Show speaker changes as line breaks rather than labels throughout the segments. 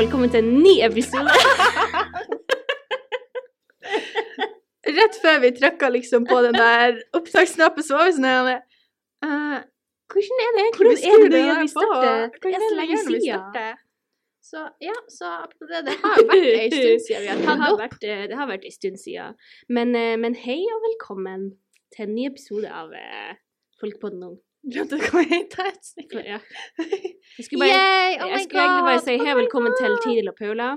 velkommen til en ny episode.
Rett før vi trykka liksom på den der opptaksknappen, så var vi sånn her eh,
Hvordan er det
Hvordan
egentlig?
er
når
det der
vi
på?
startet?
Hvordan
Det er
er
så
det vi
lenge
gjør når vi
siden.
starter? Så ja, så apropos det, det har jo vært ei stund siden vi har
Det
tatt
har
opp.
vært, eh, det har vært en stund siden. Men, eh, men hei og velkommen til en ny episode av eh, Folkepodden ung.
Glemte hva jeg heter.
For, ja. Jeg skulle, bare,
Yay! Oh my god!
jeg skulle egentlig bare si hei
oh
og
my
velkommen til
god.
Tiril og Paula.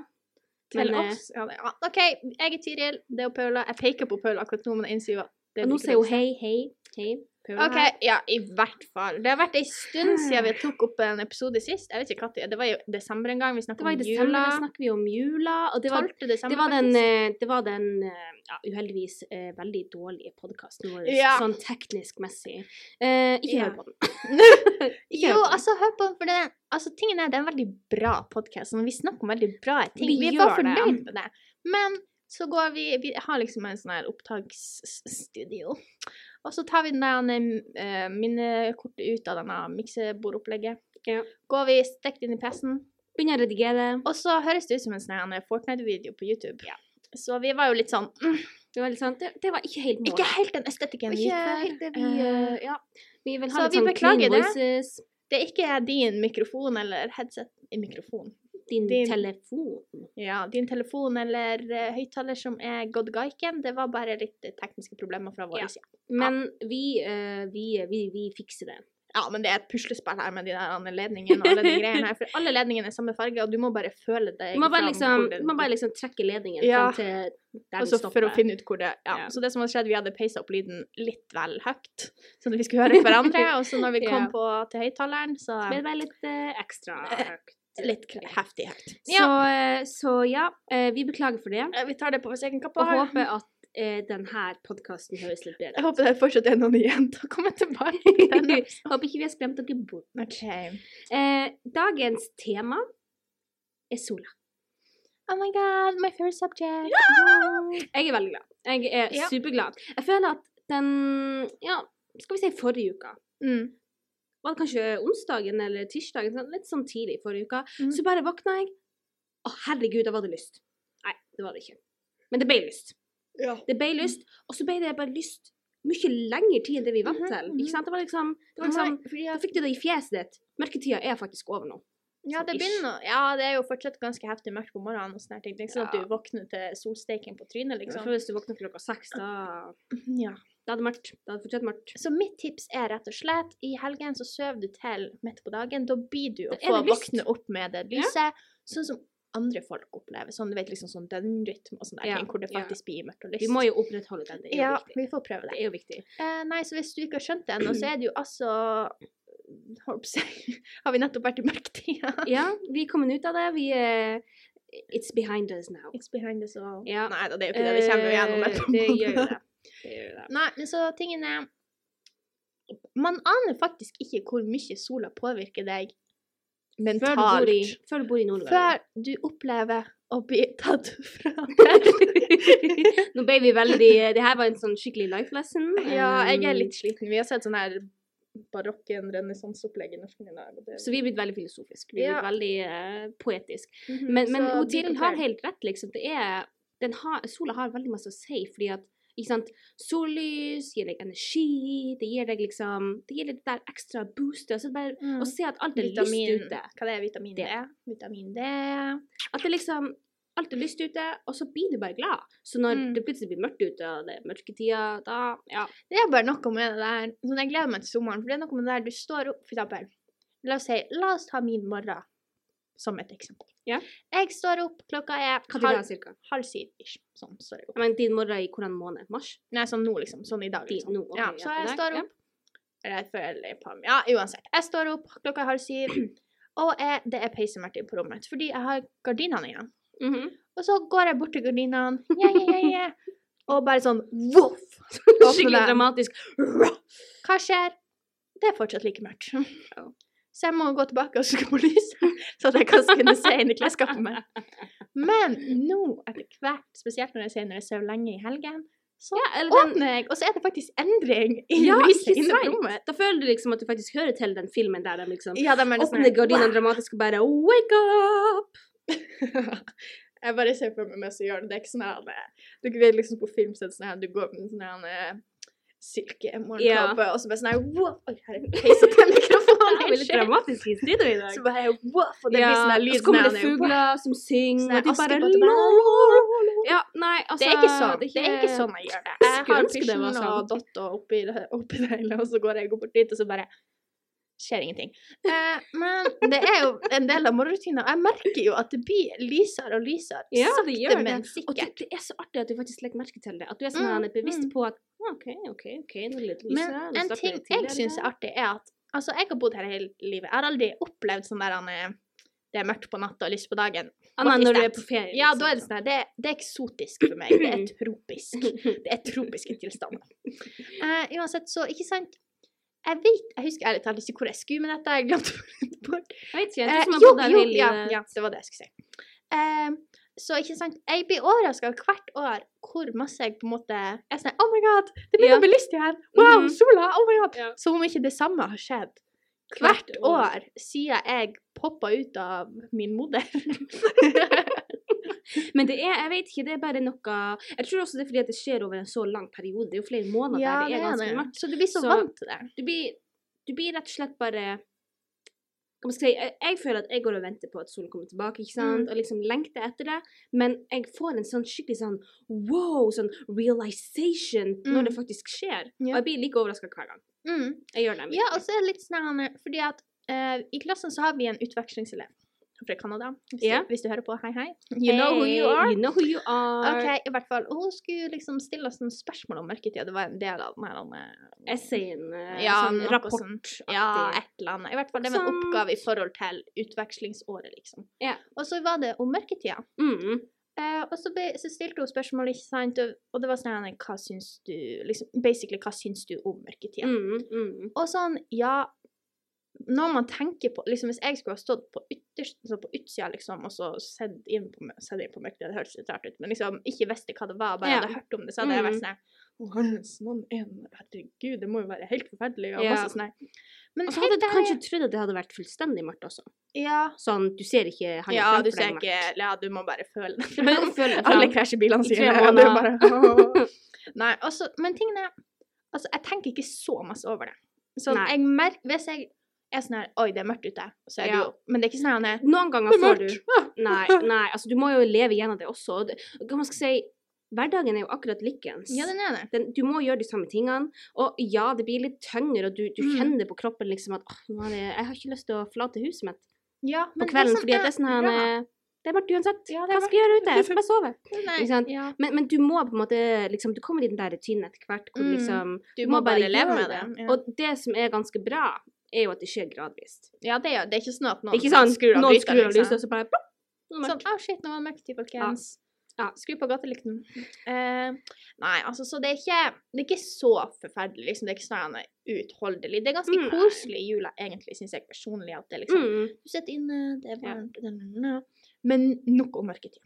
Til
Men, eh,
oss. Ja, det- ja, OK, jeg er Tiril, det er jo Paula. Jeg peker på Paula akkurat nå, men jeg innser jo at det
Og nå
blir
sier hun
ikke
hei, hei, hei. Paula
OK,
her.
ja, i hvert fall. Det har vært ei stund siden vi tok opp en episode sist. Jeg vet ikke når. Det var jo i desember en gang. Vi
Det
snakka
var i
om
desember,
jula.
da snakker vi om jula. Og det var,
12. desember,
det var den,
faktisk.
eh, det var den eh, ja, uheldigvis eh, veldig dårlige podkasten vår,
Ja.
sånn teknisk messig. Eh, ikke
Ja.
hør på den. ikke
Jo,
hør på den.
altså, hør på den, for det, altså, tingen er, det er en veldig bra podkast. Vi snakker om veldig bra ting.
Vi
Vi, er bare
gjør det.
fornøyd med det. Men så går vi Vi har liksom en sånn her opptaksstudio. Og så tar vi den der eh, minnekortet ut av denne miksebordopplegget.
Ja.
Går vi stekt inn i PC-en.
Begynner å redigere.
Og så høres det ut som en sånn her Fortnite-video på YouTube.
Ja.
Så vi var jo litt sånn mm,
Det var litt sånn Det, det var ikke helt målet.
Ikke helt den estetikken vi
Ikke
gikk for.
helt det vi,
Eh,
eh, ja. Vi vil
Så
ha litt
vi
sånn clean
beklager det.
voices.
Det er ikke din mikrofon eller headset i mikrofon.
Din,
Din-
telefon.
Ja, din telefon eller eh, høyttaler som er gått gaiken, det var bare litt eh, tekniske problemer fra vår
Ja.
side.
Men vi, eh, vi, vi, vi fikser det.
Ja, men det er et puslespill her med de der andre ledningene og alle de greiene her, for alle ledningene er samme farge, og du må bare føle deg
Du må bare
fram
liksom,
hvor det-
du må bare liksom trekke ledningen
Ja.
frem til der
Og
den
så for
stopper.
å finne ut hvor det ja.
Ja.
Så det som hadde skjedd, vi hadde peisa opp lyden litt vel høyt, sånn at vi skulle høre hverandre, og så når vi kom
Ja.
på til høyttaleren, så
Men det var litt eh, ekstra høyt.
litt heftig høyt.
Så,
Ja,
eh, så ja, eh, vi beklager for det.
eh, vi tar det på vår egen kappe.
Og håper at eh, denne podkasten høres litt bedre
Jeg
ut.
håper det fortsatt er noen igjen til å komme tilbake til denne.
Håper ikke vi har skremt dere bort.
OK.
Eh, dagens tema er sola.
Oh my god, my favorite subject.
Jeg er veldig glad. Jeg er
Ja.
superglad. Jeg føler at den Ja, skal vi si forrige uka.
Mm.
Var det kanskje onsdagen eller tirsdagen? Sånn, litt sånn tidlig forrige uka.
Mm.
Så bare våkna jeg. Å, herregud, da var det lyst. Nei, det var det ikke. Men det ble lyst.
Ja.
Det ble lyst, og så ble det bare lyst mye lengre tid enn det vi er vant
Mm. Mhm,
til.
mhm.
Ikke sant? Det var liksom, det var liksom
Nei, fordi
Da
at,
fikk du det i fjeset ditt. Mørketida er faktisk over nå.
ja, det
Ish.
begynner Ja, det er jo fortsatt ganske heftig mørkt på morgenen. og sånne her ting. Det er ikke sånn at
Ja.
du våkner til solsteiken på trynet,
Liksom.
liksom.
For hvis du våkner klokka seks, da
Ja.
Da er det mørkt. Da er det fortsatt mørkt.
Så mitt tips er rett og slett i helgen så sover du til midt på dagen. Da blir du
Da
å
er
få
det lyst.
våkne opp med det lyset, sånn som andre folk opplever. Sånn, du vet, liksom sånn døgnrytme og sånne der
Ja,
ting, hvor det
ja.
faktisk blir mørkt og lyst.
Vi må jo opprettholde den. Det er jo
ja,
viktig.
vi får prøve det.
Det er jo viktig.
Eh, nei, så hvis du ikke har skjønt det ennå, så er det jo altså eh, Holdt på å si Har vi nettopp vært i mørketida?
Ja, vi er kommet ut av det. Vi er It's behind us now.
It's behind us all.
Ja.
Nei da, det er jo ikke det. Vi kommer jo gjennom
Eh,
det.
Det gjør jo det. det, gjør jo det.
Nei, men så tingen er Man aner faktisk ikke hvor mye sola påvirker deg
Før, du bor i,
mentalt
før du bor i Nord-Norge.
før du opplever å bli tatt fra deg.
Nå ble vi veldig Det her var en sånn skikkelig life lesson.
ja, jeg er
Um,
litt sliten. Vi har sett sånn her barokken renessanseopplegg i norsken i dag. og det-
Så vi er blitt veldig filosofiske. Vi er
Ja.
blitt veldig eh, poetisk.
Mhm,
Men, men
så
hun
be
Tiril har
prepared.
helt rett, liksom. Det er, den har, sola har veldig masse å si, fordi at ikke sant? Sollys gir deg energi, det gir deg liksom Det gir deg det der ekstra boostet. Og så bare
Mm.
å se at alt er lyst
Vitamin
ute.
Hva det er vitamin D?
Det.
Vitamin D.
At det liksom Alt er lyst ute, og så blir du bare glad. Så når
Mm.
det plutselig blir mørkt ute, og det er mørketida, da Ja.
Det er bare noe med det der sånn, Jeg gleder meg til sommeren, for det er noe med det der du står opp For eksempel, la oss si La oss ta min morgen som et eksempel.
Ja.
Jeg står opp, klokka er
Hva tid da,
halv,
cirka?
halv syv ish. Sånn står jeg opp.
Jeg mener din morgen i hvordan måned? Mars?
Nei, sånn nå, liksom. Sånn i dag.
Din,
Liksom.
nå, ok,
ja,
ja,
så
i
jeg
dag,
står
ja.
opp Eller jeg føler jeg på Ja, uansett. Jeg står opp, klokka er halv syv, og jeg, det er peisemørkt på rommet fordi jeg har gardinene igjen.
Mhm.
Og så går jeg bort til gardinene, ja, ja, ja, ja. og bare sånn voff! Åpner
Skikkelig
den.
dramatisk.
Hva skjer? Det er fortsatt like mørkt.
Ja.
Så jeg må gå tilbake og skru på lyset, så at jeg kan kunne se inn i klesskapet mitt. Men nå, etter hvert, spesielt når jeg ser når jeg sover lenge i helgen, så
Ja, eller den
åpner jeg, og så er det faktisk endring i
Ja,
lyset
ikke
inne på
sant?
rommet.
Da føler du liksom at du faktisk hører til den filmen der de liksom
Ja, de er
åpner gardinene dramatisk og bare Wake up!
jeg bare ser for meg meg som gjør det. Det er ikke sånn at eh, Du vet liksom på filmsett sånn her, du går med sånn her eh, silke morgenkåpe, og så bare sånn her wow, Oi, her er peisa til mikrofonen!
Det er veldig dramatisk i studio i dag.
Så bare wow, og det blir
Ja,
sånn her lyd
og så kommer
sånn
det
her, wow.
fugler som synger,
Sånn
og de
her
bare
Askepott, og bare,
Ja, nei, altså
det er ikke sånn. Det er ikke sånn jeg gjør det. Jeg
Skulle
har
ønske det var
pysjen og dotta oppi, det- oppi det hele, og så går jeg bort dit, og så bare skjer ingenting. Eh, men det er jo en del av morgenrutinen. og Jeg merker jo at det blir lysere og lysere.
Ja, det gjør det.
men
Og det,
sikkert.
det er så artig at du faktisk legger merke til det. At du er sånn
Mm,
her bevisst
mm.
på at «Ah, OK, OK, ok, nå er det litt lysere.
Men
nå
en
starter
ting
det tidligere
jeg syns
i
er
dag».
artig, er at Altså, jeg har bodd her hele livet. Jeg har aldri opplevd sånn der han er- det er mørkt på natta og lyst på dagen.
Annet enn når du er
faktisk
på ferie. liksom.
Ja, da er det sånn her, det, det er eksotisk for meg. Det er tropisk.
sånn.
Det er tropiske tilstander. Eh, uansett, så ikke sant Jeg vet, jeg husker ærlig talt ikke hvor jeg skulle med dette. Jeg glemte hvor det bort.
Jeg vet ikke, jeg
Eh,
tror som jeg
jo,
bodde her
jo,
hele
ja,
livet.
ja, det var det jeg skulle si. Eh, så ikke sant, jeg blir overraska hvert år hvor masse jeg på en måte er sånn Oh my god, det begynner
Ja.
å bli lyst igjen! Wow,
Mhm.
sola! Oh my god!
Ja.
Som om ikke det samme har skjedd.
Hvert
Hvert
år.
år siden jeg poppa ut av min moder.
Men det er, jeg vet ikke, det er bare noe Jeg tror også det er fordi at det skjer over en så lang periode. Det er jo flere måneder der det er ganske mørkt.
Så du blir så,
Så-
vant til det.
Du blir, du blir rett og slett bare hva man skal si, jeg, jeg føler at jeg går og venter på at solen kommer tilbake, ikke sant?
Mm.
og liksom lengter etter det, men jeg får en sånn skikkelig sånn wow, sånn realization
Mm.
når det faktisk skjer. Og
Ja.
jeg blir like overraska hver gang.
Mm.
Jeg gjør det.
Ja, og så er det litt sånn her, Hanne, fordi at eh, i klassen så har vi en utvekslingselev fra Canada. Hvis,
Ja.
du- hvis du hører på, hei, hei. You know who you are.
You know who you are.
Ok, i hvert fall. Hun skulle liksom stille oss noen spørsmål om mørketida. Det var en del av den her Hanne,
Essayen. eh,
ja,
sånn
noe
rapport.
sånn. Ja, et eller annet. I hvert fall, det var en
Sant.
oppgave i forhold til utvekslingsåret, liksom.
Ja.
Og så var det om mørketida.
Mm.
Eh, og så, ble, så stilte hun spørsmål, ikke sant, og, og det var sånn her, hva syns du liksom, Basically, hva syns du om mørketida?
Mm. Mm.
Og sånn, ja Når man tenker på liksom Hvis jeg skulle ha stått på, ytterst, så på utsida liksom, og så sett inn på, mø- sett inn på mørket, det hadde hørtes litt rart ut, men liksom ikke visste hva det var, bare
Ja.
hadde hørt om det, så hadde jeg
Mm.
vært sånn Å, hans mann er en Herregud, det må jo være helt forferdelig. Og
Ja.
masse sånn her. Men
Og så hadde
helt
du
ærlig-
kanskje trodd at det hadde vært fullstendig mørkt også.
Ja,
Sånn, du ser ikke han
ja
framfor
du
deg
ser
mørkt.
ikke Ja, du må bare føle det.
Du bare føler det
Alle
fram.
krasjer bilene
I tre
sine. og det er
måneder.
bare- Nei, altså, men tingen er Altså, jeg tenker ikke så masse over det. Sånn,
Nei.
jeg merker Hvis jeg er sånn her Oi, det er mørkt ute. Så er det
Ja.
jo Men det er ikke sånn her
Noen ganger
Det er
får du
mørkt.
Nei, nei, altså du må jo leve gjennom det også. og det- Hva man skal si, hverdagen er jo akkurat likens.
Ja, den er det.
den, du må gjøre de samme tingene, og ja, det blir litt tyngre, og du, du
Mm.
kjenner på kroppen liksom at åh, nå er det, jeg har ikke lyst til å forlate huset mitt
Ja,
på
men
kvelden,
sånn
fordi at det er sånn her
bra.
eh, Det er mørkt uansett.
Ja, det er
Hva skal jeg gjøre ute? Jeg skal bare sove.
Nei,
ikke sant?
Ja.
Men, men du må på en måte liksom, Du kommer i den der rutinen etter hvert hvor
Mm.
liksom
Du må bare leve
gjøre
med det. Ja.
Og det som er ganske bra, er jo at det skjer gradvis.
ja, det er, det er ikke sånn at noen
Det er ikke sånn
skrur av
noen
lyset.
skrur av lyset,
liksom.
og så bare plopp, nå er det mørkt.
Sånn, å shit, nå var det mørkt, folkens.
Ja.
Skru på gatelykten. Eh, nei, altså, så det er ikke, det er ikke så forferdelig, liksom. Det er ikke sånn eh, utholdelig. Det er ganske
Mm. Nei.
koselig i jula, egentlig, syns jeg personlig. At det er liksom
Mm.
Du sitter inne, det er
Ja.
varmt da, da, da, da. Men nok om mørketid.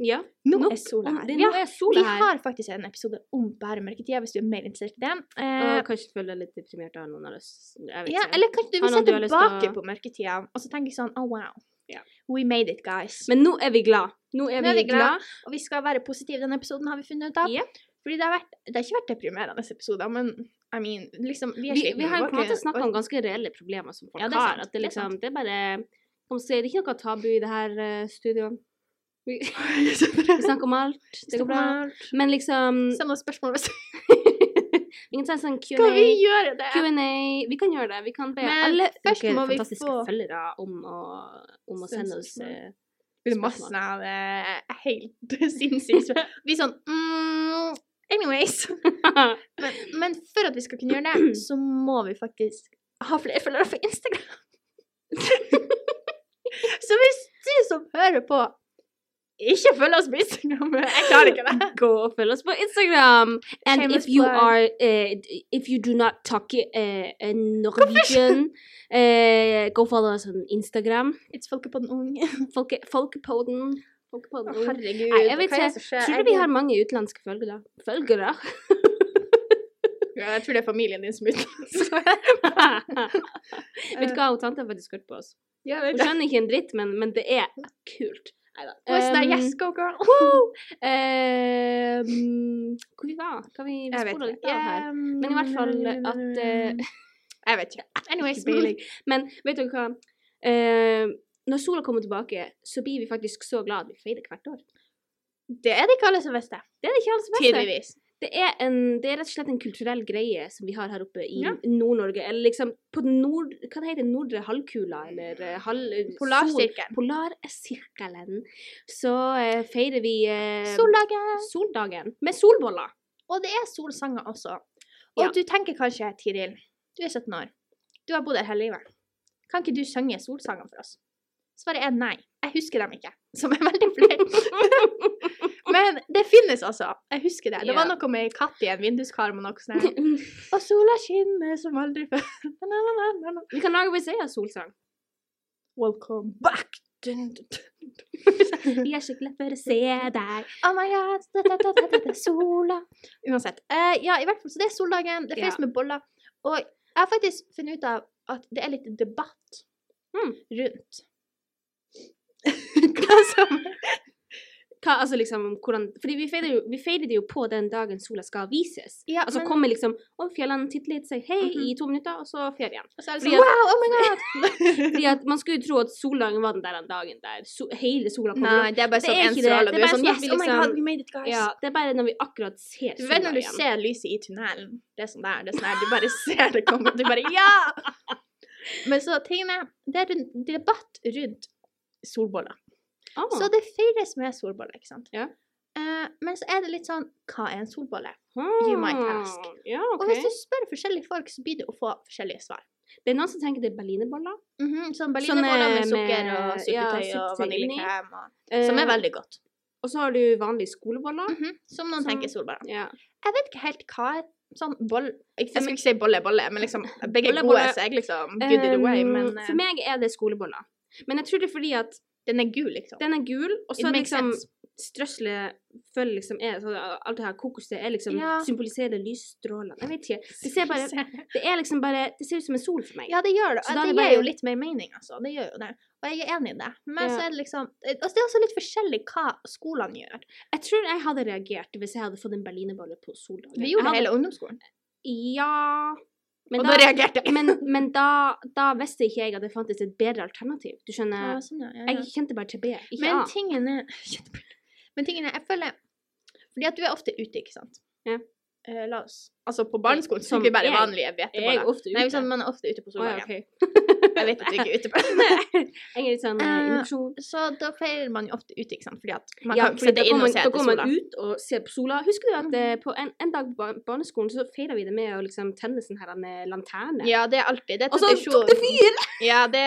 Ja.
Nå
Nok
er sola
om
her.
det.
Ja,
Nå er
Vi
sola her.
har faktisk en episode om bare mørketida, hvis du er mer interessert i det. Eh,
Og kanskje føler deg litt deprimert av noen av oss. Jeg vet
ja,
ikke.
eller kanskje du
Har
vil se
noen du har lyst til å-
tilbake på mørketida og så tenke sånn Oh, wow.
Ja.
We made it, guys.
Men nå er vi glad. Nå er vi, glad.
Og vi skal være positive i denne episoden, har vi funnet ut av.
Ja.
Fordi det har, vært, det har ikke vært deprimerende episoder, men I mean, liksom Vi, er
Vi,
slitne,
vi har jo
går
på en måte
ikke-
snakka om ganske reelle problemer som folk
Ja, det er
har.
sant.
At det
Det er
liksom
sant.
Det er bare Hva man skal si, det er ikke noe tabu i det her eh, studioet. Vi, vi
Vi
snakker om alt. Det går bra. Men liksom
Send oss spørsmål hvis
Vi kan ta en sånn
Skal vi
Q&A.
gjøre det?
Q&A. Vi kan gjøre det. Vi kan be
Men
alle
først
dere
må vi
fantastiske
få-
følgere om å, om å
Send
sende oss
spørsmål.
eh,
Det er masse
spørsmål.
av eh, helt sinnssykt spørsmål. Vi er sånn mm, Anyways. Men, men for at vi skal kunne gjøre det, så må vi faktisk ha flere følgere på Instagram. så hvis du som hører på, ikke følger oss på Instagram Jeg klarer ikke det.
Go og følg oss på Instagram. And
Shameless
if you
plug.
are eh, d- If you do not talk eh, eh, Norwegian, eh, go follow us on Instagram.
It's folket på den unge.
Folke, folkepodden.
Å,
folkepodden.
herregud.
Nei, jeg vet
hva
ikke.
er det som skjer?
Tror du
Jeg
vi
blir-
har mange utenlandske følgere? Følgere?
Ja, Jeg tror det er familien din som er ute.
Vet du hva, hun tante har faktisk hørt på oss.
Jeg vet
Hun
det.
skjønner ikke en dritt, men, men det er kult. Neida.
Hun er sånn der,
Um,
yes, go girl!
um, hvor vi var? Hva vi vi
Jeg vet
sporet litt
ikke. Um,
av her? Men i hvert fall at, eh,
Jeg vet ikke. Anyways.
Ikke peiling. Men vet dere hva? Eh, når sola kommer tilbake, så blir vi faktisk så glad at vi feirer hvert år.
Det er det ikke alle som visste.
Det er det ikke alle som vet.
Tydeligvis.
Det er, en, det er rett og slett en kulturell greie som vi har her oppe i
Ja.
Nord-Norge. Eller liksom på den nord... Hva det heter det? Nordre halvkula? Eller eh, halv... sol-
Polarsirkelen.
Polarsirkelen. Så eh, feirer vi
Um,
eh,
Soldagen.
soldagen med solboller.
Og det er solsanger også. Og
Ja.
du tenker kanskje, Tiril, du er 17 år. Du har bodd her hele livet. Kan ikke du synge solsanger for oss? Svaret er nei. Jeg husker dem ikke, som er veldig flaut. Men det finnes altså. Jeg husker det. Det var
Ja.
noe med ei katt i en vinduskarm og noe sånt. her. Og sola skinner som aldri før. Na, na, na, na, na.
vi kan lage vår egen solsang.
Welcome back! Dun, dun, dun.
Vi er så glad for å se deg.
Oh my god, da, da, da, da, da, da, sola Uansett. Eh, ja, i hvert fall, så det er soldagen. Det feires
Ja.
med boller. Og jeg har faktisk funnet ut av at det er litt debatt
Mm.
rundt hva som
Hva, altså liksom, hvordan, fordi vi feirer, jo, vi feirer det jo på den dagen sola skal vises.
Ja,
altså
men-
kommer liksom om fjellene titter litt, sier hei
Mhm.
i to minutter, og så fer igjen.
så er det
Fordi
sånn, Wow, oh my god!
Fordi at man skulle jo tro at soldagen var den der en dagen der so, hele sola kommer opp.
Nei, det er bare
Det er
sånn en
ikke det.
stråle.
Det
Du
er bare
er
sånn
sånn Yes,
at vi
oh my
liksom-
god, we made it, guys.
Ja, det er bare når vi akkurat ser
Du vet
sola
når du
igjen.
ser lyset i tunnelen, det er sånn der, det er sånn der, du bare ser det komme, du bare ja! Men så tingene, det er rundt, debatt rundt solboller.
Ah.
Så det feires med solbolle, ikke sant?
Ja.
Eh, men så er det litt sånn Hva er en solbolle?
you
might ask.
ah. Ja,
Og
ok.
hvis du spør forskjellige folk, så blir det å få forskjellige svar.
Det er noen som tenker det er berlinerboller.
Sånn berlinerboller med
Mhm, med-
sukker og sukkertøy
ja,
og
sukkertøy inni.
vaniljekrem. og-
Eh,
Som er veldig godt.
Og så har du vanlige skoleboller.
Mhm, Som noen
Som-
tenker solboller.
Ja.
Jeg vet ikke helt hva er sånn boll... Jeg
Ja,
skal
men-
ikke si bolle, bolle, men liksom begge
Bolle,
er
bolle.
gode, så jeg liksom good either way,
Um,
men eh,
For meg er det skoleboller. Men jeg tror det er fordi at
den er gul, liksom.
den er gul, og
It
så er det
makes
liksom
sense.
strøsselet følger liksom er så Alt det her kokoset er liksom
Ja.
symboliserer lysstrålene. Jeg vet ikke. Det ser bare Det er liksom bare Det ser ut som en sol for meg.
Ja, det gjør det.
Så
Og
da er
det
det
gir
bare-
jo litt mer mening, altså. Det gjør jo det. Og jeg er enig i det. Men
Ja.
så er det liksom Og det er også litt forskjellig hva skolene gjør.
Jeg tror jeg hadde reagert hvis jeg hadde fått en berlinerbolle på soldagen.
Vi
Jeg
gjorde
hadde-
det hele ungdomsskolen.
Ja men
og
da,
da reagerte jeg.
men, men da, da visste ikke jeg at det fantes et bedre alternativ. Du
Ja,
skjønner?
sånn, ja, ja, ja.
eh, Jeg kjente bare til B, ikke
Men
A.
tingen er Men tingen er, jeg føler Fordi at du er ofte ute, ikke sant?
Ja.
Eh, la oss Altså, på barneskolen så
Som
fikk vi bare
jeg-
vanlige
Jeg er
hveteboller.
ofte ute.
Nei, sånn, man er ofte ute
Å,
på
ja,
soldagen.
ok.
Jeg vet at du ikke er ute på
Jeg er litt sånn
Eh,
uh, induksjon.
Så da feirer man jo ofte ute, ikke sant? Fordi at man
Ja,
kan ikke
fordi da
sitte
går man,
inne og se
da
etter
går man
sola. Mm.
ut og ser på sola. Husker du at eh, på en, en dag på bar- barneskolen så feira vi det med å liksom tenne sånn her med lanterne?
Ja, det er alltid. Det er
Og så tok det
tradisjon.
fyr!
Ja, det,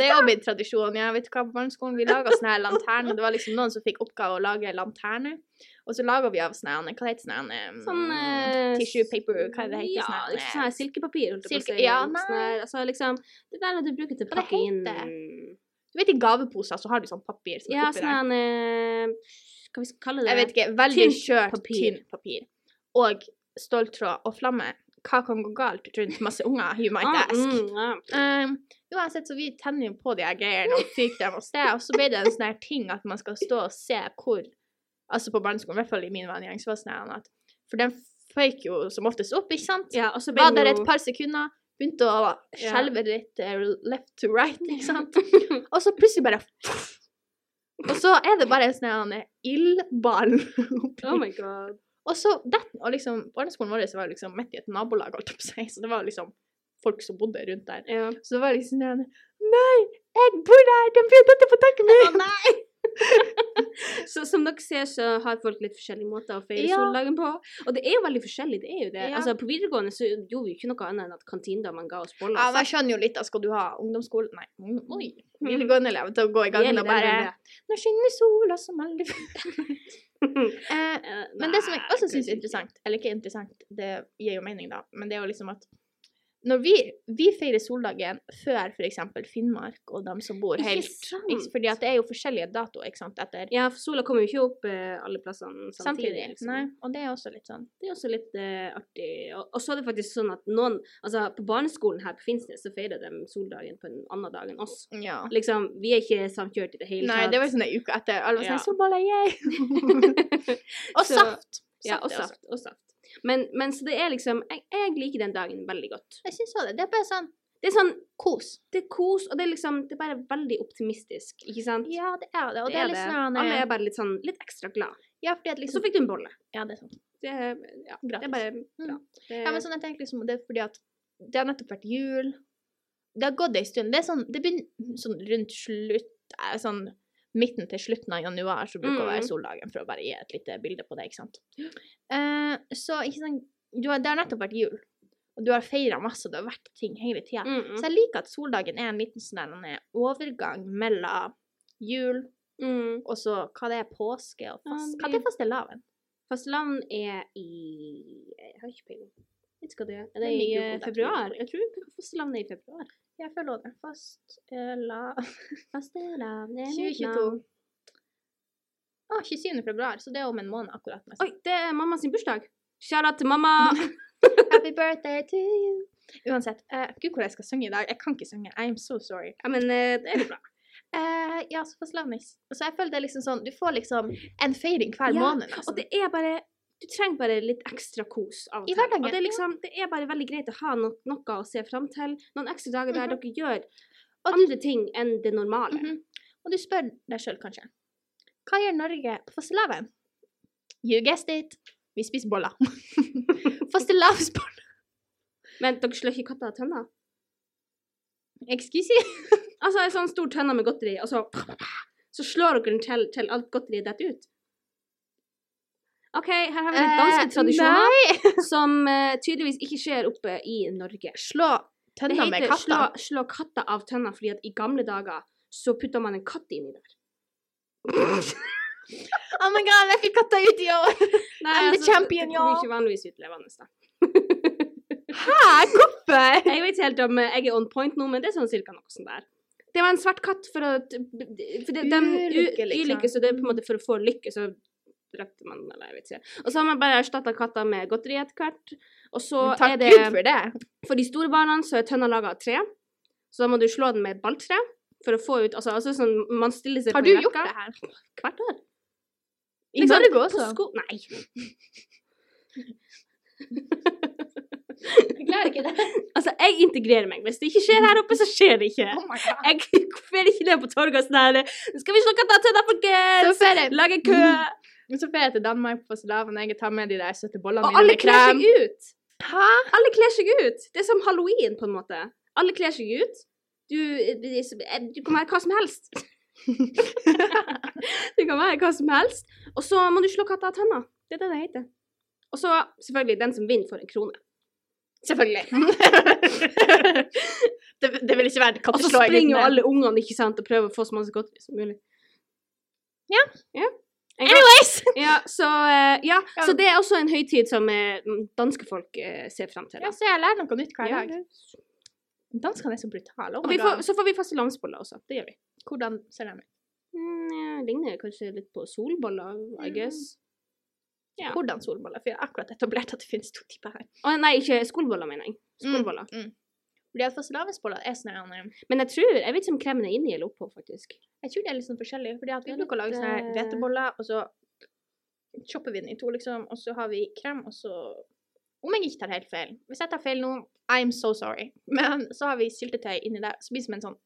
det er jo blitt tradisjon. Ja, vet du hva, på barneskolen vi laga sånne her lanterner. Det var liksom noen som fikk oppgave å lage lanterner. Og så laga vi av sånne her- Hva heter sånne her, um,
Sånn eh,
Tissue paper, hva det heter
Ja,
sånn her,
liksom sånn her silkepapir, holdt jeg på å
silke-
si.
ja,
Sånn her, altså liksom Det der du bruker til å
Hva det
pakke inn
heter? Du vet i gaveposer så har du sånn papir som
Ja,
er oppi
sånn
der.
her eh, Hva vi skal kalle det?
Jeg vet ikke. Veldig
Tynt
skjørt,
papir.
tynt papir. Og ståltråd og flamme. Hva kan gå galt rundt masse unger? You might
Ah,
ask.
mm, ja.
Um, uansett, så vi tenner jo på de her greiene og fyker dem av sted. Og så ble det en sånn her ting at man skal stå og se hvor Altså på barneskolen, i hvert fall i min vennegjeng, så var det sånn her at For den føyk jo som oftest opp, ikke sant?
ja, og så ble
Var der
det
et
jo
par sekunder, begynte
Ja.
å skjelve litt eh, left to right, ikke sant? Og så plutselig bare Og så er det bare en sånn her ildball oppi
Oh my god.
og så detten, og liksom, barneskolen vår var jo liksom midt i et nabolag, holdt jeg på å si, så det var jo liksom folk som bodde rundt der.
Ja.
Så det var liksom sånn Nei, jeg bor her! De blir dette på taket mitt!
Så som dere ser, så har folk litt forskjellige måter å feire
Ja.
soldagen på. Og det er jo veldig forskjellig, det er jo det.
Ja.
Altså, på videregående så gjorde vi jo ikke noe annet enn at kantinedamen ga oss boller.
Ja, men jeg skjønner jo litt at skal du ha ungdomsskole Nei, Mm, ung- oi, videregående elev til å gå i gangen og bare Nå skinner sola som aldri før. eh, Men det som jeg også syns er interessant, eller ikke interessant, det gir jo mening, da, men det er jo liksom at Når vi, vi feirer soldagen før f.eks. Finnmark og dem som bor
Ikke
helt
sant?
ikke- Fordi at det er jo forskjellige datoer, ikke sant, etter
Ja, for sola kommer jo ikke opp eh, alle plassene samtidig.
samtidig.
liksom.
Nei, og det er også litt sånn.
Det er også litt eh, artig. Og, og så er det faktisk sånn at noen Altså, på barneskolen her på Finnsnes så feirer de soldagen på en annen dag enn oss.
Ja.
Liksom, vi er ikke samkjørt i det hele
Nei, det var sånn en uke etter. Alle var
Ja.
sånn Solbolle, yay! Og
Så-
saft.
ja, og
er også-
saft. Og saft. Men, men så det er liksom jeg, jeg liker den dagen veldig godt.
Jeg syns også det. Det er bare sånn
Det er sånn
kos.
Det er kos, og det er liksom Det er bare veldig optimistisk, ikke sant?
Ja, det er det. Og det, er litt sånn
Alle
eh,
er bare litt sånn litt ekstra glad.
Ja, fordi
Og
at
så
liksom
fikk du en bolle.
Ja, det er sånn.
Det er, ja, det
Gratis. Mm.
er bare bra. Det,
Ja, men sånn, jeg tenker liksom, det er fordi at det har nettopp vært jul. Det har gått ei stund. Det er sånn, det begynner sånn rundt slutt eh, sånn midten til slutten av januar så bruker det å være
Mm.
soldagen, for å bare gi et lite bilde på det, ikke sant. Eh, så ikke sant, du har, det har nettopp vært jul, og du har feira masse, og det har vært ting hele tida.
mm,
Så
mm,
jeg liker at soldagen er en liten sånn der, den er overgang mellom jul
mm.
og så hva det er påske og
Ja,
fast,
det-
Hva det er fastelavn?
Fastelavn er i Jeg har ikke peiling. Vet ikke hva det er. Er det
Det
i
ligger jo
eh,
på deg.
februar? Jeg tror fastelavn er i februar.
Jeg føler også det. Fastelavn
Fastelavn er mitt
2022.
navn.
Å, 27. februar, så det er om en måned akkurat. nesten.
Oi, det er mamma sin bursdag. Kjære til mamma!
Happy birthday to you! Uansett, eh, gud hvor jeg skal synge i dag. Jeg kan ikke synge. I'm so sorry.
Ja, men eh, det er bra.
Eh, ja, så fastelavnis. Så jeg føler det er liksom sånn, du får liksom en feiring hver
Ja,
måned. Liksom.
Og det er bare Du trenger bare litt ekstra kos av og
I
til. Og
hverdagen,
det er,
ja.
liksom, det er bare veldig greit å ha no noe å se fram til. Noen ekstra dager der
Mhm.
dere gjør
Og
andre ting enn det normale.
Mhm. Og du spør deg sjøl kanskje, hva gjør Norge på fastelavn? You guessed it. Vi spiser boller. Fastelavnsboller.
Men dere slår ikke katta av tønna?
Excuse me.
Altså en sånn stor tønne med godteri, og så Så slår dere den til, til alt godteriet detter ut? OK, her har vi litt danske tradisjoner
Eh, Nei!
som eh, tydeligvis ikke skjer oppe i Norge.
Slå
Det
tønna med
heter slå,
katta.
slå katta av tønna, fordi at i gamle dager så putta man en katt inni der.
Oh my god, jeg fikk katta ut i år!
Nei, altså,
I'm the champion,
Det kommer
y'all.
ikke vanligvis ut levende, da.
Hæ? Hvorfor?
Jeg vet ikke helt om eh, jeg er on point nå, men det er sånn cirka noe sånn der. Det var en svart katt for å for det, de,
Ulykke,
ulykke,
liksom.
ulykke, så det er på en måte for å få lykke, så drepte man eller jeg vet ikke. Og så har man bare erstatta katta med godteri etter hvert. Og så
Takk
er det
Gud for det.
For de store barna så er tønna laga av tre, så da må du slå den med et balltre for å få ut Altså, altså sånn man stiller seg
Har
på
du
en
gjort
rekke.
det her?
Hvert år.
I
Liksom,
Norge
På
også?
sko Nei.
Jeg klarer ikke det.
Altså, jeg integrerer meg. Hvis det ikke skjer her oppe, så skjer det ikke.
Oh my god.
Jeg fer ikke ned på torget og sånn her «Nå Skal vi se hva dette er,
Så
folkens?
fer jeg,
Lage kø.
så fer jeg til Danmark på fastelavn, og jeg tar med de der søte bollene
Og alle
med
kler
krem.
seg ut.
Hæ?
Alle kler seg ut. Det er som halloween, på en måte. Alle kler seg ut. Du, du kan være hva som helst. du kan være hva som helst. Og så må du slå katta av tønna. Det er det det heter. Og så selvfølgelig den som vinner, får en krone.
Selvfølgelig. det, det vil ikke være
Og så
katteslåing.
springer jo alle ungene ikke sant, og prøver å få så mange så godt som mulig.
Ja.
ja. En gang-
Anyways!
Ja, så, eh, ja,
Ja.
så det er også en høytid som eh, danske folk eh, ser fram til. da.
Ja, så jeg lærer noe nytt hver
Ja,
dag.
det-
Danskene er så brutale. Oh
Og
my
vi får,
god.
så får vi fastelavnsboller også. Det gjør vi.
Hvordan ser de ut?
Mm, ja, ligner kanskje litt på solboller, I
Mm.
guess. Ja.
Hvordan solboller? For jeg har akkurat etablert at det finnes to typer her.
Å, nei, ikke skoleboller, mener jeg.
Mm,
Skoleboller.
Fordi at fastelavnsboller er sånn her,
Men jeg tror Jeg vet ikke om kremen er inni eller oppå, faktisk.
Jeg tror det er litt sånn forskjellig, fordi at
Det
vi
er
bruker å lage
litt,
sånne her
eh,
hveteboller, og så chopper vi den i to, liksom, og så har vi krem, og så Om jeg ikke tar helt feil. Hvis jeg tar feil nå, I'm so sorry. Men så har vi syltetøy inni der, så blir det som en sånn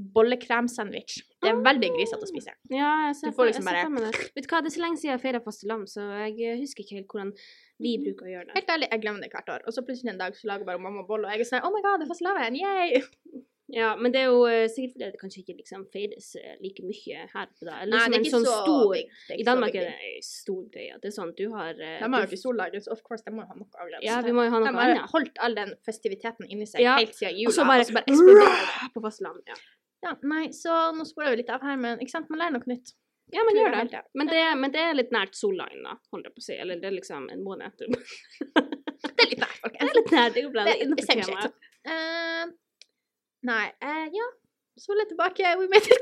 bollekremsandwich. Det er veldig
Ah.
grisete å spise.
Ja, jeg ser
Du får
for-
liksom
jeg ser
bare-
for meg det. Vet du hva, det er så lenge siden jeg feira fastelavn, så jeg eh, husker ikke helt hvordan vi
Mhm.
bruker å gjøre det.
Helt ærlig, jeg glemmer det hvert år. Og så plutselig en dag så lager bare mamma bolle, og jeg er sånn Oh my god, det er fastelavn! Yay!
Liksom Ja, Men det er jo eh, sikkert fordi det kanskje ikke liksom feires eh, like mye her oppe, da. Eller
Nei,
liksom
det er
en
ikke
sånn
så
stor
big. Det er
I
ikke så
Danmark
big
er
deal.
det en stor greie. Det er sånn, du har eh,
De har jo
du-
ikke sollaget, så of course, de må jo ha noe avgrenset.
Ja, vi må jo ha
de
noe
har
annet.
holdt all den festiviteten inni seg
Ja,
helt siden jula.
Og så bare, så bare
eksploderer det.
eksploderer det på fastlandet. Ja.
Ja, nei, så nå sporer vi litt av her, men ikke sant, man lærer noe nytt.
ja, man
Tror
gjør
jeg
det.
helt, ja.
Men det, men det er litt nært solline, da, holder jeg på å si. Eller det er liksom en måned etter.
Det er litt nært, folk.
Det er litt nær. Det går bra. Det er
Det-
innenfor
same shit.
temaet.
Eh, nei eh, Ja, så litt tilbake. We made it.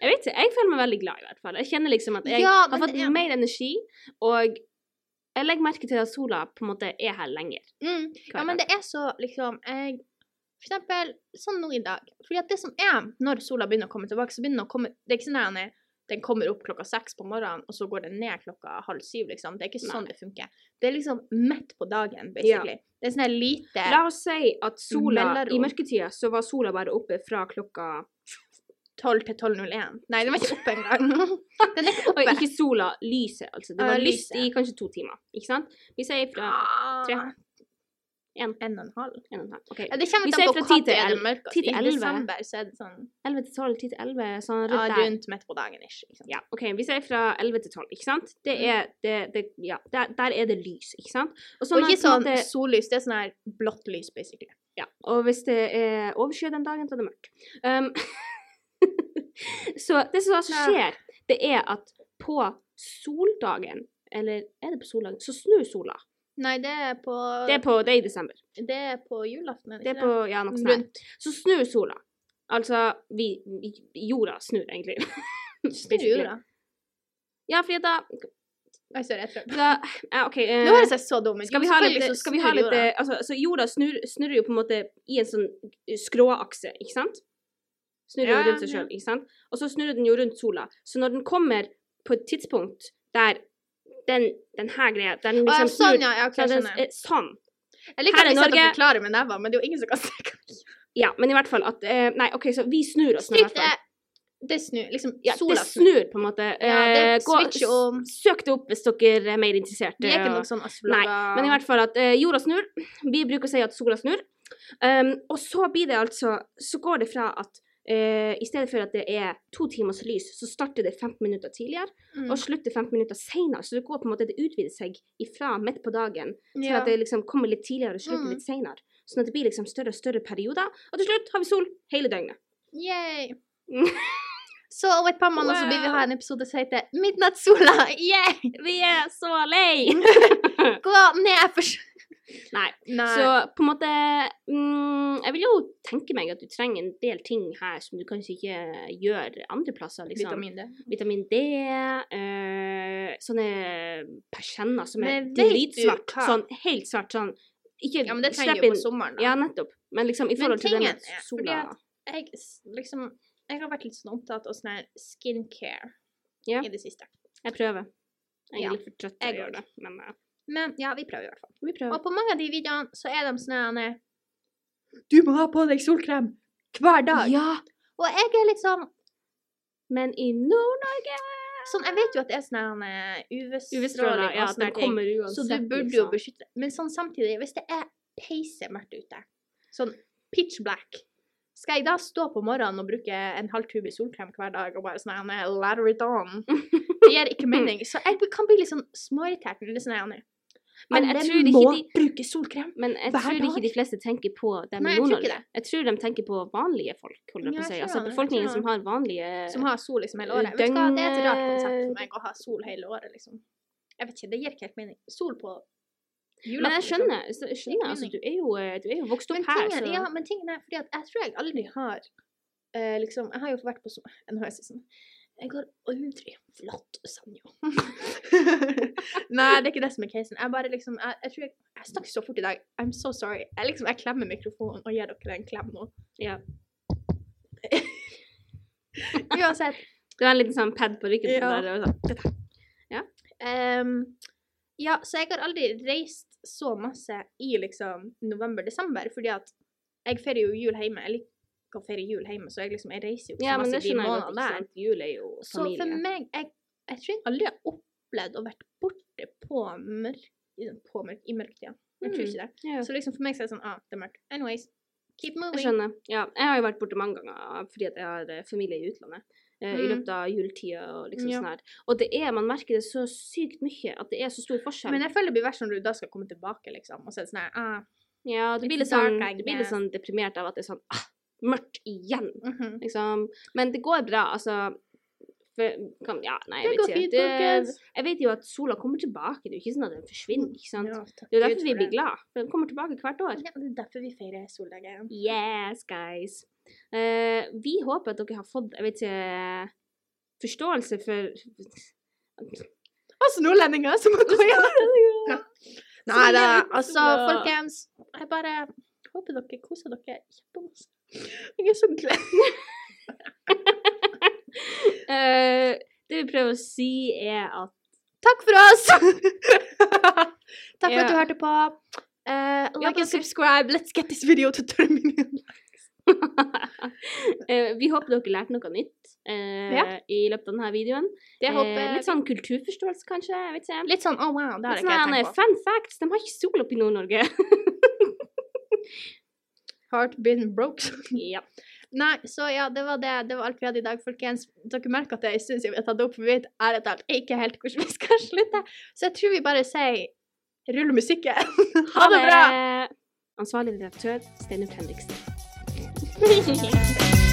Jeg vet ikke. Jeg føler meg veldig glad, i hvert fall. Jeg kjenner liksom at jeg
Ja,
har
men
fått
det er-
mer energi, og jeg legger merke til at sola på en måte er her lenger.
Mm. Ja, men det er så liksom jeg, For eksempel sånn nå i dag. Fordi at det som er når sola begynner å komme tilbake, så begynner den å komme Det er ikke sånn at den er- den kommer opp klokka seks på morgenen, og så går den ned klokka halv syv, liksom. Det er ikke sånn det funker. Det er liksom midt på dagen, basically. Det er sånn her lite
La oss si at sola
Mellomrom.
I mørketida så var sola bare oppe fra klokka
12 til 12.01. Nei, den var ikke oppe engang. Den er ikke
Og
oppe.
ikke sola, lyset, altså. Det
Ja,
var lyst
lyset.
i kanskje to timer, ikke sant? Vi sier fra tre.
Ah,
En.
En og en halv.
en og en halv. OK.
Ja, det kommer
Vi
litt
sier
an på
fra ti
når det
til
er
el-
mørkt.
ti til
I
elleve.
desember så er det sånn
11 til 12, 10 til 11, sånn rundt
ja,
der.
rundt midt på dagen. Ish, ikke sant?
Ja, OK, vi sier fra 11 til 12, ikke sant? Det
Mm.
er det, det Ja, der, der er det lys, ikke sant? Og, sånn
og
at på
ikke
en
sånn
måte-
sollys, det er sånn her blått lys, basically.
Ja, og hvis det er overskyet den dagen, så er det mørkt. Um, så det som altså
Ja.
skjer, det er at på soldagen, eller er det på soldagen, så snur sola.
Nei, det er på
Det er, på, det er i desember.
det er på julaften, er
Det er
ikke
på, ja, noe sånt. her.
Rundt.
Så snur sola. Altså, vi, vi- jorda snur egentlig.
Snur jula.
Ja, fordi da,
Nei, sorry, jeg prøver.
da ja, OK. eh,
Nå høres jeg så dum ut.
skal
Jo,
vi ha
selvfølgelig
litt,
så
skal vi ha
snur
litt
jorda.
eh, altså, altså, jorda snur, snurrer jo på en måte i en sånn skråakse, ikke sant? Snurrer jo
Ja,
rundt seg
ja.
sjøl, ikke sant? Og så snurrer den jo rundt sola. Så når den kommer på et tidspunkt der den, den her greia Den
Å, ja,
liksom
sånn,
snur
ja. ja
så
okay, jeg
den,
skjønner.
eh, Sånn.
Jeg liker
her
at
er
vi sitter
Norge.
og forklarer med nevene, men det er jo ingen som kan se hva det er.
Ja, men i hvert fall at eh, Nei, OK, så vi snur oss nå, i
Stryk
hvert
det.
fall.
eh, Det snur. Liksom,
Ja,
sola
det snur, på en måte.
Ja, det
Eh, gå-
switcher om.
Søk det opp hvis dere er mer interessert.
Vi er ikke
og-
noen sånn
Nei,
astrologer.
Men i hvert fall at eh, jorda snur. Vi bruker å si at sola snur. Um, og så blir det altså Så går det fra at eh, i stedet for at det er to timers lys, så starter det 15 minutter tidligere
Mm.
og slutter 15 minutter senere. Så det går på en måte det utvider seg ifra midt på dagen til
Ja.
at det liksom kommer litt tidligere og slutter
Mm.
litt senere. Sånn at det blir liksom større og større perioder. Og til slutt har vi sol hele døgnet.
Yay!
Mm.
Så om et par måneder så vil vi
Wow.
ha en episode som heter Midnattssola. Yay!
Vi er så lei!
Gå ned for
Nei.
Nei.
Så på en måte mm, Jeg vil jo tenke meg at du trenger en del ting her som du kanskje ikke gjør andre plasser. Liksom. Vitamin.
vitamin D.
D, eh, sånne persienner som er
Men vet du
dritsvart.
hva?
Sånn helt svart. Sånn ikke
Ja, men det trenger
slipp
du jo
inn-
på sommeren, da.
Ja, nettopp. Men liksom i
Men
forhold til det
tingen
med
er, fordi
sola
at- Jeg, s- liksom, jeg har vært litt sånn opptatt av sånn her skincare
Ja.
i det siste.
Jeg prøver. Jeg er
Ja,
litt for trøtt til
jeg
å
går.
gjøre det, men eh,
Men ja, vi prøver i hvert fall.
vi prøver.
Og på mange av de videoene så er de sånn her eh, Du må ha på deg solkrem hver
Ja,
Og jeg er litt sånn
men i Nord-Norge
Sånn, Jeg vet jo at det er sånn her eh,
UV-stråler,
UV-stråling
ja, den
og sånne ting.
kommer uansett.
Så du burde jo
liksom.
beskytte Men sånn samtidig, hvis det er peisemørkt ute, sånn pitch black, skal jeg da stå på morgenen og bruke en halv tube solkrem hver dag og bare sånn «Nei, nei, Lather it on? Det gir ikke mening. Så jeg kan bli litt sånn småirritert når det er sånn «Nei, nei,
Men jeg
alle
tror
må
ikke de
bruke solkrem.
Men jeg
Hver
tror ikke
dag?
de fleste tenker på dem
Nei,
i
jeg tror
Nord-Norge.
ikke
Jeg, tror de tenker på vanlige folk, holder jeg
Ja,
på å
jeg
si.
tror
Altså
det, jeg
befolkningen
tror
som har vanlige
Som har sol liksom hele året. Vet du hva, det er et rart konsept for meg å ha sol hele året, liksom. Jeg vet ikke, det gir ikke helt mening. Sol på julaften.
Men jeg
liksom.
skjønner, så- jeg skjønner altså, du er jo, eh, du er jo vokst
Men
opp her,
tingen,
så
ja, men tingen er fordi at jeg tror jeg aldri har eh, liksom, Jeg har jo vært på som- Nå har jeg sagt sånn Jeg har aldri forlatt Sanja. Nei, det er ikke det som er casen. Jeg bare liksom Jeg, jeg tror jeg, jeg snakker så fort i dag. I'm so sorry. Jeg liksom, jeg klemmer mikrofonen og gir dere en klem nå.
Ja.
Uansett.
Du har en liten sånn pad på ryggen på
Ja.
der, og sånn.
ehm, ja, så jeg har aldri reist så masse i liksom november-desember, fordi at jeg feirer jo jul hjemme. Jeg liker å feire jul hjemme, så jeg liksom, jeg reiser jo ikke
Ja, men
så masse
det
i de
skjønner jeg godt,
månedene
ikke
der.
sant? Jul er jo
Så for
familie.
meg jeg, jeg tror jeg aldri har opplevd å vært borte på mørk, i- på mørk, i mørketida. Jeg tror
Mm,
ikke det.
ja.
Så liksom for meg så er det sånn ah, det er mørkt. Anyways, keep
Jeg
moving.
skjønner. Ja, jeg har jo vært borte mange ganger fordi at jeg har eh, familie i utlandet. eh, I
Mm.
løpet av juletida og liksom
Ja.
sånn her. Og det er, man merker det så sykt mye, at det er så stor forskjell.
Men jeg føler det blir verst når du da skal komme tilbake, liksom, og så er det sånn her, ah,
Ja, du
Litt eh,
blir litt
dark
sånn,
eyed,
du blir litt
yeah.
sånn deprimert av at det er sånn ah, mørkt igjen,
mhm.
liksom. Men det går bra, altså. For, kan, ja, nei, jeg
Det
vet
går
ikke.
fint,
Det-
folkens.
Jeg vet jo at sola kommer tilbake. Det er jo ikke sånn at den forsvinner. ikke sant?
Ja,
Det er jo derfor vi blir glad. For den kommer tilbake hvert år.
Ja, det er derfor vi feirer soldagen.
Yes, guys. Eh, vi håper at dere har fått jeg vet ikke, forståelse for
Altså, nordlendinger som må gå igjen. Nei da, altså,
Ja.
folkens. Jeg bare håper dere koser dere kjempemasse. Jeg er så glad.
Eh, Det vi prøver å si, er at
Takk for oss! Takk for
Ja.
at du hørte på. Eh,
Ja,
like
dere-
and subscribe. Let's get this video to 30 million.
eh, Vi håper dere lærte noe nytt eh,
Ja.
i løpet av denne videoen.
Det
Eh,
håper
litt sånn kulturforståelse, kanskje? jeg vet ikke.
Litt sånn oh wow, det har
Litt
jeg ikke
sånn
jeg
eh,
tenkt på.
fun facts. De har ikke sol oppe i Nord-Norge.
Heart been broke.
ja.
Nei, så ja, det var det. Det var alt vi hadde i dag, folkens. Dere merker at det er en stund siden vi har tatt det opp, for vi vet ærlig talt ikke helt hvordan vi skal slutte. Så jeg tror vi bare sier rull musikken. ha
Eh,
det bra!
Ansvarlig redaktør Steinar Henriksen.